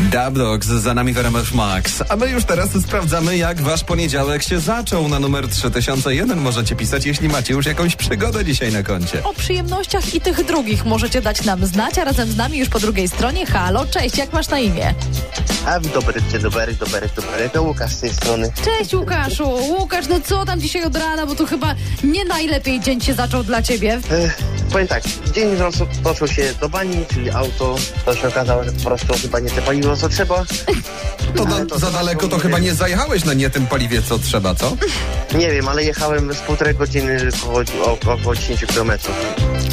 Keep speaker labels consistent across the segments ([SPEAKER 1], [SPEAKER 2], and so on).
[SPEAKER 1] Dub Dogs, za nami Weramerz Max. A my już teraz sprawdzamy, jak wasz poniedziałek się zaczął na numer 3001. Możecie pisać, jeśli macie już jakąś przygodę dzisiaj na koncie.
[SPEAKER 2] O przyjemnościach i tych drugich możecie dać nam znać, a razem z nami już po drugiej stronie. Halo, cześć, jak masz na imię?
[SPEAKER 3] A dobry, dzień dobry, dobry, dobry. To Łukasz z tej strony.
[SPEAKER 2] Cześć Łukaszu. Łukasz, no co tam dzisiaj od rana, bo tu chyba nie najlepiej dzień się zaczął dla ciebie.
[SPEAKER 3] Ech, powiem tak, dzień zaczął- zaczął się do bani, czyli auto. To się okazało, że po prostu chyba nie te paliwo co trzeba.
[SPEAKER 1] To,
[SPEAKER 3] Ale
[SPEAKER 1] na,
[SPEAKER 3] to
[SPEAKER 1] za
[SPEAKER 3] to
[SPEAKER 1] daleko
[SPEAKER 3] to
[SPEAKER 1] to
[SPEAKER 3] nie
[SPEAKER 1] chyba
[SPEAKER 3] wiem.
[SPEAKER 1] nie zajechałeś na nie tym paliwie, co trzeba, co?
[SPEAKER 3] Nie wiem, ale jechałem z półtorej godziny około, około, około 10 km.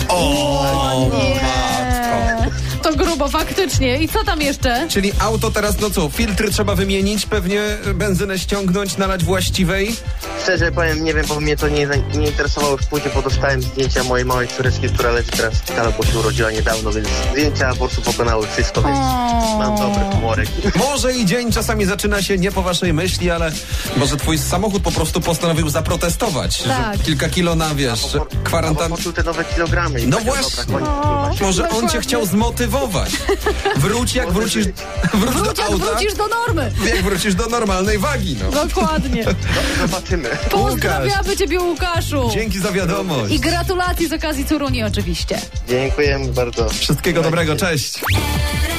[SPEAKER 1] O, matko.
[SPEAKER 2] To grubo, faktycznie. I co tam jeszcze?
[SPEAKER 1] Czyli auto teraz, no co, filtry trzeba wymienić, pewnie benzynę ściągnąć, nalać właściwej.
[SPEAKER 3] Szczerze powiem, nie wiem, bo mnie to nie, nie interesowało już później, bo dostałem zdjęcia mojej małej córeczki, która leży teraz w szpitalu, bo się urodziła niedawno, więc zdjęcia po prostu pokonały wszystko, więc
[SPEAKER 2] O.
[SPEAKER 3] mam dobry humorek.
[SPEAKER 1] Może i dzień czasami zaczyna się nie po waszej myśli, ale może twój samochód po prostu postanowił zaprotestować.
[SPEAKER 2] Tak.
[SPEAKER 1] Że kilka kilo na, wiesz,
[SPEAKER 3] Albo
[SPEAKER 1] kwarantan...
[SPEAKER 3] Poczuł te nowe kilogramy. i
[SPEAKER 1] No
[SPEAKER 3] powiedział,
[SPEAKER 1] właśnie.
[SPEAKER 3] Dobra, koniec, kurwa, się
[SPEAKER 1] Może on cię
[SPEAKER 2] Dokładnie.
[SPEAKER 1] chciał zmotywować. Wróć jak
[SPEAKER 3] Może
[SPEAKER 1] wrócisz,
[SPEAKER 3] być.
[SPEAKER 1] wróć
[SPEAKER 2] Wróć,
[SPEAKER 1] do
[SPEAKER 2] jak
[SPEAKER 1] auta,
[SPEAKER 2] wrócisz do normy.
[SPEAKER 1] jak wrócisz do normalnej wagi, no.
[SPEAKER 2] Dokładnie.
[SPEAKER 3] Zobaczymy.
[SPEAKER 2] Pozdrawiamy ciebie, Łukaszu.
[SPEAKER 1] Dzięki za wiadomość.
[SPEAKER 2] I gratulacji z okazji Curuni oczywiście.
[SPEAKER 3] Dziękujemy bardzo.
[SPEAKER 1] Wszystkiego dobrego, cześć.
[SPEAKER 4] RMF